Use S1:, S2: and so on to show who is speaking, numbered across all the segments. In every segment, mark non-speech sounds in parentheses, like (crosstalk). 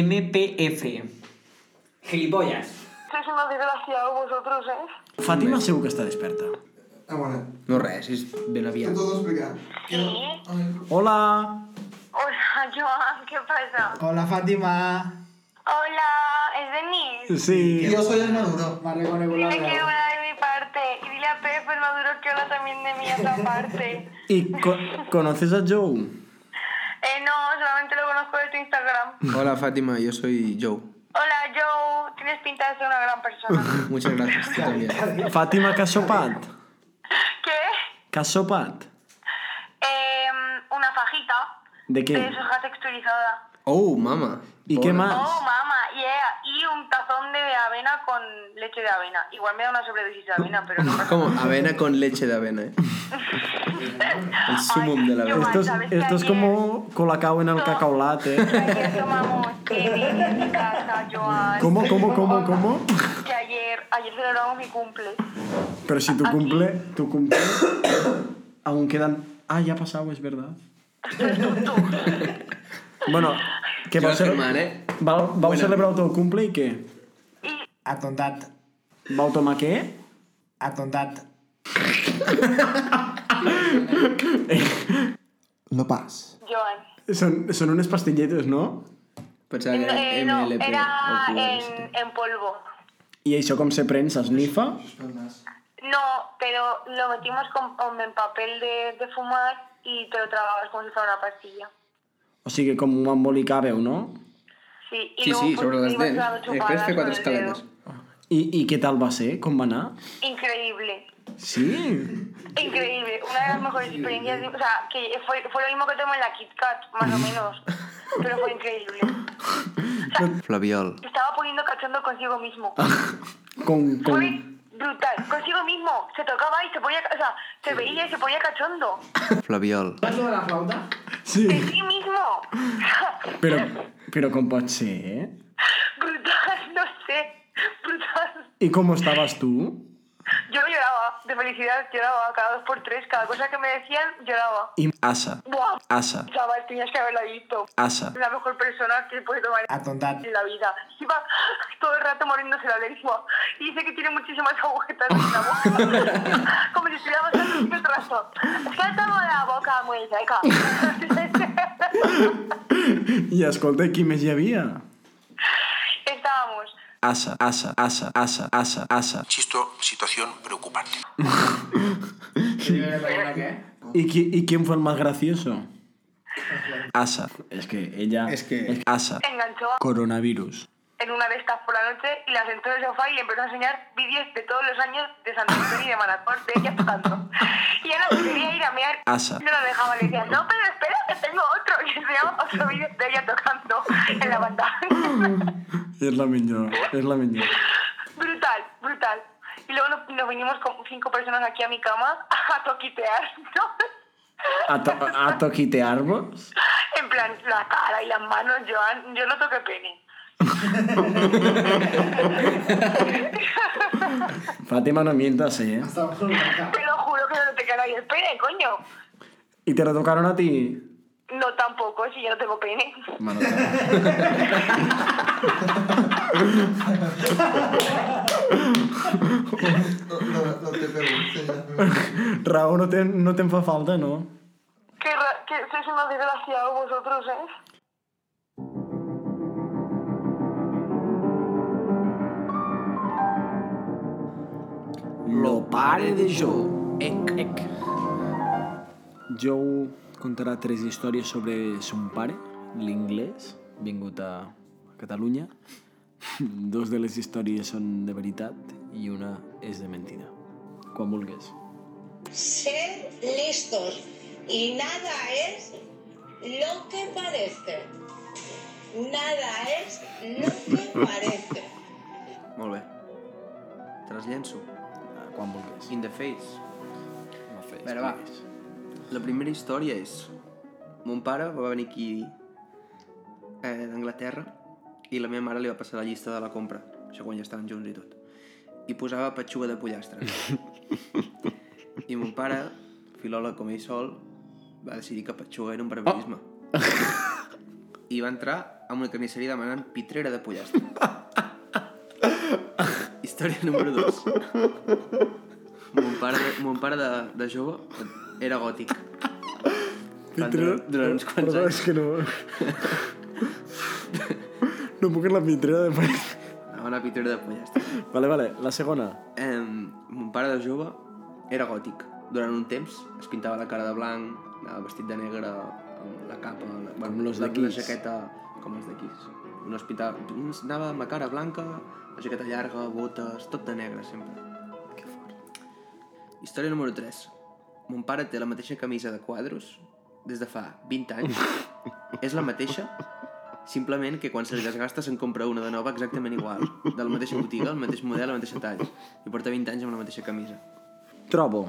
S1: MPF.
S2: Gilipollas.
S3: Sois unos desgraciados vosotros, ¿eh?
S4: Fàtima segur que està desperta.
S5: Ah, bueno.
S2: No res, és ben aviat.
S5: Tot ho explicar.
S3: Sí.
S5: Ai,
S4: Hola!
S3: Hola, Joan, ¿qué pasa?
S6: Hola, Fátima.
S3: Hola, es Denise.
S5: Y
S4: Sí.
S5: yo soy el maduro.
S6: Más reconegulada.
S3: Dile que hola de mi parte. Y dile a Pepe el Maduro que hola también de mi otra parte.
S4: (laughs) ¿Y co- conoces a Joe?
S3: Eh, no, solamente lo conozco de tu Instagram.
S2: Hola, Fátima, yo soy Joe.
S3: Hola, Joe, tienes pinta de ser una gran
S2: (laughs)
S3: persona.
S2: Muchas gracias, tú también.
S4: Fàtima, que ha sopat?
S3: ¿Qué?
S4: Que ha sopat?
S3: Eh, una fajita
S4: ¿De
S3: de
S4: qué?
S3: soja texturizada.
S2: Oh, mama.
S4: ¿Y qué
S2: Hola.
S4: más?
S3: Oh, mamá, yeah. Y un tazón de avena con leche de avena. Igual me da una sobredosis de avena, pero
S2: (laughs)
S3: no pasa
S2: Como avena con leche de avena, ¿eh? El sumum de la avena.
S4: Esto es, esto es como colacao en el cacaolat, eh.
S3: Ayer tomamos té en mi casa, Joan.
S4: ¿Cómo, cómo, cómo, cómo?
S3: Que ayer, ayer celebramos mi cumple.
S4: Pero si tu cumple, tu cumple... Aún quedan... Ah, ya ha pasado, es verdad. Bueno, que
S2: Yo
S4: vau,
S2: soy
S4: cele...
S2: Germán, ¿eh?
S4: vau, vau
S2: Buena.
S4: celebrar el teu cumple i què?
S3: Y
S6: Atontat.
S4: Vau tomar què?
S6: Atontat.
S5: No pas.
S3: Joan.
S4: Són, són unes pastilletes, no?
S2: Pensaba que
S3: Eh,
S2: era
S3: no,
S2: MLP.
S3: era eh,
S2: o
S3: en,
S2: QRST.
S3: en polvo.
S4: I això com se pren? S'esnifa?
S3: No, pero lo metimos con, con- en papel de, de fumar y te lo tragabas como si fuera una pastilla.
S4: O sigui, com ho embolicàveu, no?
S3: Sí, y
S2: Sí,
S3: luego,
S2: sí,
S3: pues,
S2: sobre las Eh,
S3: ibas
S2: dents.
S3: dando
S2: Después
S3: chupadas
S2: fue
S3: con el
S2: cuatro
S3: dedo.
S2: escaleras.
S4: I, I què tal va ser? Com va anar?
S3: Increíble.
S4: Sí?
S3: Increíble, una de las mejores experiencias, o sea, que fue, fue lo mismo que tomé en la Kit Kat, más o menos, pero fue increíble.
S2: Flaviol.
S3: Se estaba poniendo cachondo consigo mismo.
S4: Ah, Com, com...
S3: Fue brutal, consigo mismo, se tocaba y se ponía, o sea, se veía y se ponía cachondo.
S2: Flaviol.
S6: Vas lo de la flauta?
S4: Sí,
S3: De sí mismo. (laughs)
S4: però, però com pot ser, eh?
S3: brutal, (laughs) no sé, brutal.
S4: I com estaves tu?
S3: Yo lloraba, de felicidad lloraba, cada dos por tres, cada cosa que me decían lloraba.
S4: I asa,
S3: Buah,
S4: asa,
S3: chaval, tenías que haberla visto.
S4: asa.
S3: la mejor persona que puede tomar
S6: Atontat.
S3: en la vida. Iba todo el rato muriéndose la lengua. Y dice que tiene muchísimas agujetas en la boca. Como si estuviera pasando el trazo. Es que tengo la boca muy seca.
S4: I escolta, qui més hi havia?
S3: Estábamos.
S4: Asa, asa, asa, asa, asa, asa.
S7: Insisto, situación preocupante.
S4: I qui, i qui em fa el més gracioso? Asa. És que ella...
S2: És que-
S4: és Asa.
S3: Enganchó a-
S4: Coronavirus.
S3: en una de estas por la noche y la sentó en el sofá y le empezó a enseñar vídeos de todos los años de Santa Cruz y de Manacor, de ella tocando. Y Ana quería ir a mear.
S4: Asa.
S3: No lo dejaba, le decía, no, pero espera, que tengo otro. Y le enseñaba otro vídeo de ella tocando en la banda.
S4: És la millor, és la millor.
S3: Brutal, brutal. Y luego nos, nos vinimos con cinco personas aquí a mi cama a toquitear, ¿no?
S4: A, to a toquitear-vos?
S3: En plan, la cara y las manos, Joan, yo no toqué pene.
S4: Fátima, no mientas, eh?
S6: Estamos en la
S3: Te lo juro que no toqué nadie el pene, coño.
S4: ¿Y te lo tocaron a ti? (laughs)
S3: No tampoco, si yo no tengo pene.
S4: Mano, claro.
S5: No, no, no te preguntes. ya.
S4: Raúl, no te, no te fa falta, no?
S3: Qué ra- que sois unos desgraciados vosotros, ¿eh?
S4: Lo pare de Joe. Ec, ec. Joe contarà tres històries sobre son pare, l'inglès, vingut a Catalunya. (laughs) Dos de les històries són de veritat i una és de mentida. Quan vulguis.
S8: ser listos y nada es lo que parece. Nada es lo que parece.
S2: Molt bé. Te les llenço.
S4: Ah, Quan vulguis.
S2: In the face.
S4: No fes,
S2: Veure, va.
S4: please.
S2: La primera història és... Mon pare va venir aquí eh, d'Anglaterra i la meva mare li va passar la llista de la compra, això quan ja estaven junts i tot. I posava petxuga de pollastre. I mon pare, filòleg com ell sol, va decidir que petxuga era un barbarisme. I va entrar a una carnisseria demanant pitrera de pollastre. Història número 2. Mon pare, de, mon pare de, de jove era gòtic. Durant, durant uns quants
S4: Perdó,
S2: anys.
S4: és que no... no puc en la pitrera de país.
S2: Demana pitrera de pollastre.
S4: Vale, vale, la segona.
S2: Eh, mon pare de jove era gòtic. Durant un temps es pintava la cara de blanc, anava vestit de negre, amb la capa, la, bueno,
S4: los
S2: la,
S4: de
S2: la
S4: Kiss.
S2: jaqueta com els de Kiss. No es pintava, anava amb la cara blanca, la jaqueta llarga, botes, tot de negre sempre. Que fort. Història número 3. Mon pare té la mateixa camisa de quadros des de fa 20 anys. És la mateixa, Simplement que quan se li desgasta se'n compra una de nova exactament igual, de la mateixa botiga, el mateix model, la mateixa talla, i porta 20 anys amb la mateixa camisa.
S4: Trobo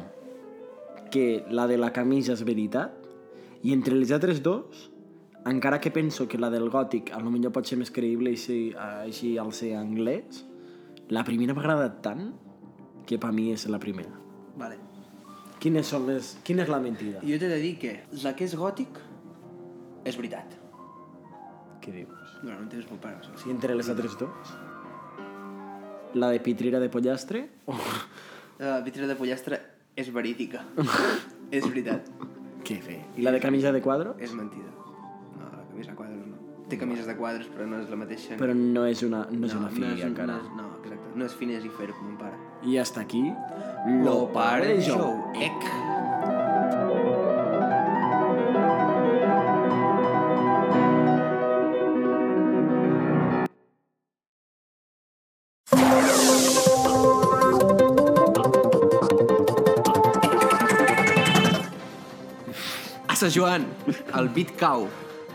S4: que la de la camisa és veritat i entre les altres dos, encara que penso que la del gòtic a lo millor pot ser més creïble així, així al ser anglès, la primera m'ha agradat tant que per mi és la primera.
S2: Vale.
S4: Quines són les... Quina és la mentida?
S2: Jo t'he de dir que la que és gòtic és veritat.
S4: Què dius?
S2: Durant un temps molt pare. O
S4: I
S2: sigui,
S4: entre les altres dos? La de pitrera de pollastre? Oh,
S2: la vitrina de pollastre és (laughs) verídica. és veritat.
S4: què fe? I la de camisa de eh, quadro?
S2: És mentida. No, la camisa de quadres no. Té camises de quadres, però no és la mateixa.
S4: Però no és una, no és
S2: no,
S4: una filla,
S2: no és,
S4: encara.
S2: No, és, no, exacte. No és fines i fer-ho com un pare.
S4: I hasta aquí...
S2: Lo pare jo, ec. Assa Joan, el Bitcau,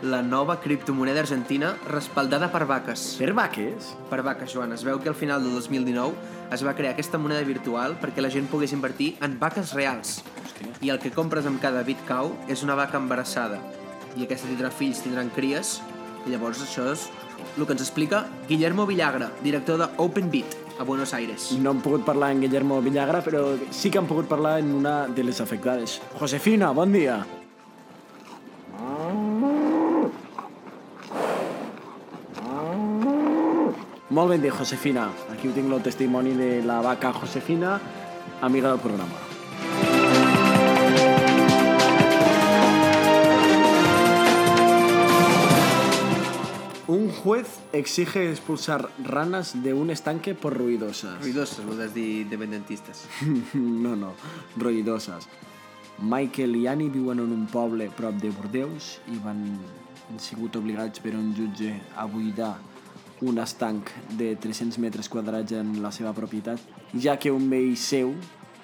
S2: la nova criptomoneda argentina respaldada per vaques.
S4: Per vaques?
S2: Per vaques, Joan, es veu que al final del 2019 es va crear aquesta moneda virtual perquè la gent pogués invertir en vaques reals.
S4: Hòstia.
S2: I el que compres amb cada bitcau és una vaca embarassada. I aquesta tindrà fills, tindran cries. I llavors això és el que ens explica Guillermo Villagra, director de OpenBit, a Buenos Aires.
S4: No han pogut parlar en Guillermo Villagra, però sí que han pogut parlar en una de les afectades. Josefina, bon dia. Molt ben dit, Josefina. Aquí ho tinc el testimoni de la vaca Josefina, amiga del programa. Un juez exige expulsar ranas de un estanque por ruidosas.
S2: Ruidoses, vols dir independentistes.
S4: (laughs) No, no, roïdoses. Michael i Annie viuen en un poble prop de Bordeus i van han sigut obligats per un jutge a buidar un estanc de 300 metres quadrats en la seva propietat, ja que un veí seu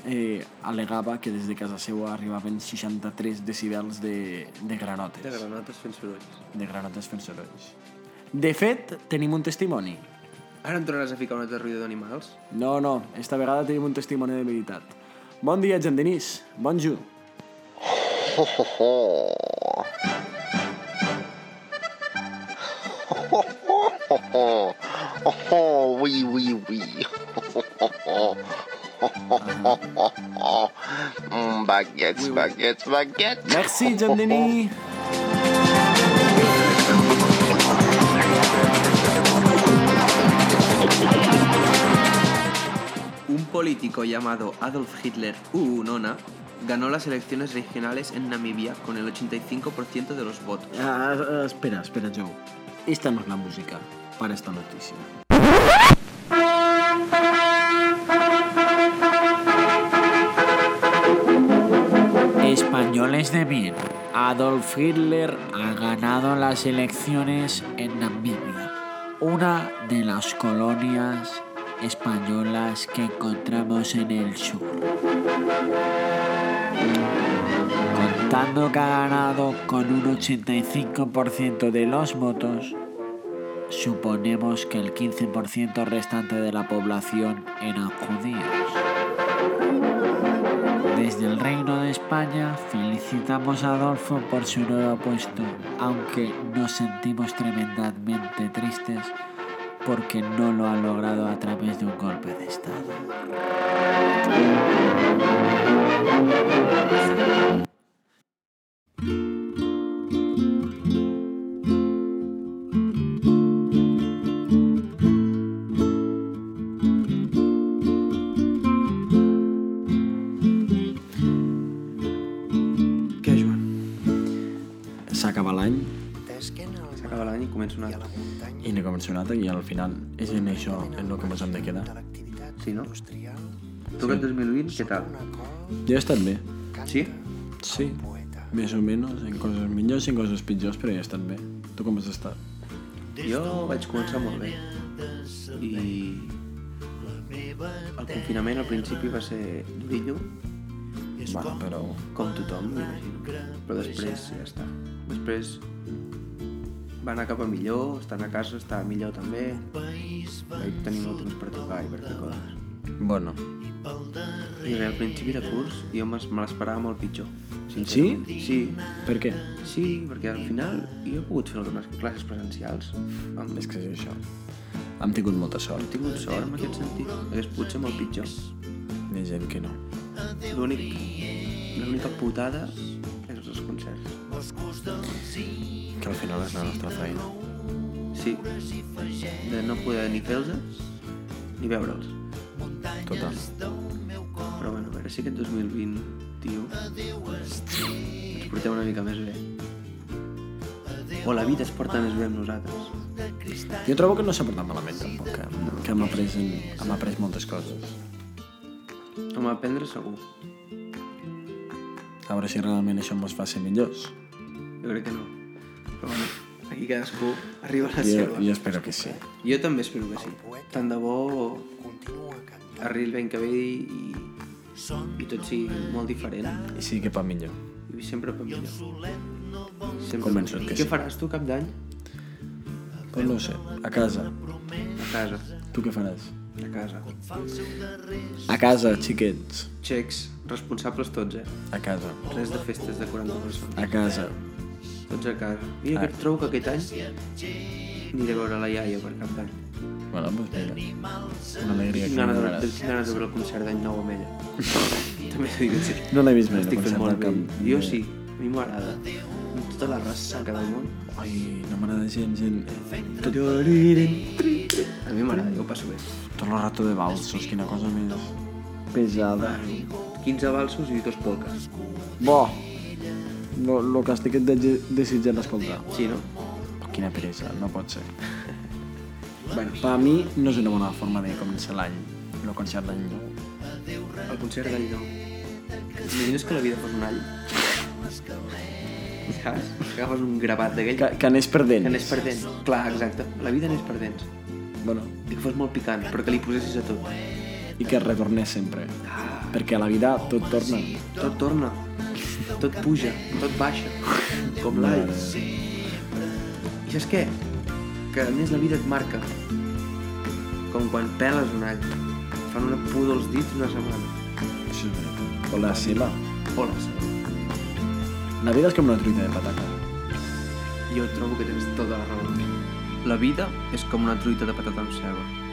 S4: eh, alegava que des de casa seva arribaven 63 decibels de, de granotes.
S2: De granotes fent sorolls.
S4: De granotes fent sorolls. De fet, tenim un testimoni.
S2: Ara em tornaràs a ficar un altre ruïdor d'animals?
S4: No, no, esta vegada tenim un testimoni de veritat. Bon dia, Jean Denis. Bonjour.
S1: Oh, oui, oui,
S4: (laughs)
S1: oui. Mm, baguettes, baguettes, baguettes.
S4: (laughs) Merci, John Denis.
S2: Un político llamado Adolf Hitler Unona ganó las elecciones regionales en Namibia con el 85% de los votos.
S4: Ah, ah, espera, espera, Joe. Esta no es la música para esta noticia. Españoles de bien. Adolf Hitler ha ganado las elecciones en Namibia, una de las colonias españolas que encontramos en el sur. Contando que ha ganado con un 85% de los votos, suponemos que el 15% restante de la población eran judíos. Desde el Reino de España felicitamos a Adolfo por su nuevo puesto, aunque nos sentimos tremendamente tristes porque no lo ha logrado a través de un golpe de Estado.
S2: convencional.
S9: I no convencionat i al final és en això en el que ens hem de quedar.
S2: Sí, no? Tu aquest 2020, què tal?
S9: Jo he estat bé,
S2: Sí?
S9: sí. Més o menys, en coses millors i en coses pitjors, però he estat bé. Tu com has estat?
S2: Jo vaig començar molt bé. I el confinament al principi va ser durillo,
S9: Bueno, però...
S2: com tothom, m'imagino. Però després ja està. Després va anar cap a millor, estant a casa estava millor també. Vaig tenir molt temps per tocar i per fer coses.
S9: Bueno.
S2: I bé, al principi de curs jo m'es- me l'esperava molt pitjor. sincerament. Sí,
S9: Per què?
S2: sí, perquè al final jo he pogut fer algunes classes presencials. Amb...
S9: És que és això. Hem tingut molta
S2: He
S9: sort.
S2: tingut sort en aquest sentit. Hagués pogut ser molt pitjor.
S9: Hi ha gent que no.
S2: L'únic... L'única putada és els concerts.
S9: Que al final és la nostra feina.
S2: Sí. De no poder ni fer-los ni veure'ls.
S9: Total.
S2: Però bueno, a veure si aquest 2021 ens portem una mica més bé. O la vida es porta més bé amb nosaltres.
S9: Jo trobo que no s'ha portat malament tampoc, que, que hem, après, hem après moltes coses.
S2: Home, aprendre segur.
S9: A veure si realment això ens fa ser millors.
S2: Jo crec que no. Però bueno, aquí cadascú arriba a la
S9: Jo,
S2: seva.
S9: jo espero que sí.
S2: Jo també espero que sí. Tant de bo arribi l'any que ve i, i tot sigui molt diferent.
S9: I sí que pa millor.
S2: I sempre per millor. Sempre
S9: Convençut que
S2: I què
S9: sí.
S2: faràs tu cap d'any?
S9: Però no ho sé, a casa.
S2: A casa.
S9: Tu què faràs?
S2: A casa.
S9: A casa, xiquets.
S2: Xecs, responsables tots, eh?
S9: A casa.
S2: Res de festes de 40 persones.
S9: A casa.
S2: Tots a casa. I jo
S9: Ah.
S2: crec- trobo que aquest any aniré a veure la iaia per cap d'any.
S9: Bueno, doncs mira. Una alegria
S2: Tinc
S9: que no
S2: ganes de,
S9: donaràs.
S2: tinc ganes de veure el concert d'any nou amb
S9: (laughs)
S2: ella. també t'ho dic en sèrio.
S9: No l'he vist mai,
S2: Estic
S9: no
S2: fent
S9: pensava
S2: molt
S9: que-
S2: vell. Jo sí, a mi m'agrada. Amb tota la ressaca del món.
S9: Ai, no m'agrada gens, gent. Tot,
S2: A mi m'agrada, jo ho passo bé.
S9: tot el rato de balsos, quina cosa més pesada.
S2: 15 balsos i dos polques.
S9: Bo! Lo, lo que estic dege- desitjant escoltar.
S2: Sí, no?
S9: Quina peresa, no pot ser.
S2: Bueno,
S9: Per a mi no és una bona forma de començar l'any, el concert d'any nou.
S2: el concert d'any nou. T'imagines que la vida fos un all? Saps? Agafes un gravat d'aquell
S9: Que, que anés perdent.
S2: que anés perdent. Clar, exacte. La vida anés perdent.
S9: Bueno,
S2: I que fos molt picant, però que li posessis a tot. Ah,
S9: i que retornés sempre. Perquè a la vida tot torna.
S2: Tot torna. Tot puja. Tot baixa. Com l'aire. I saps què? Que a més la vida et marca. Com quan peles un all. Fan una pudor als dits una setmana.
S9: Això és veritat. O la seva.
S2: Hola, senyor.
S9: La vida és com una truita de patata.
S2: Jo trobo que tens tota la raó. La vida és com una truita de patata amb ceba.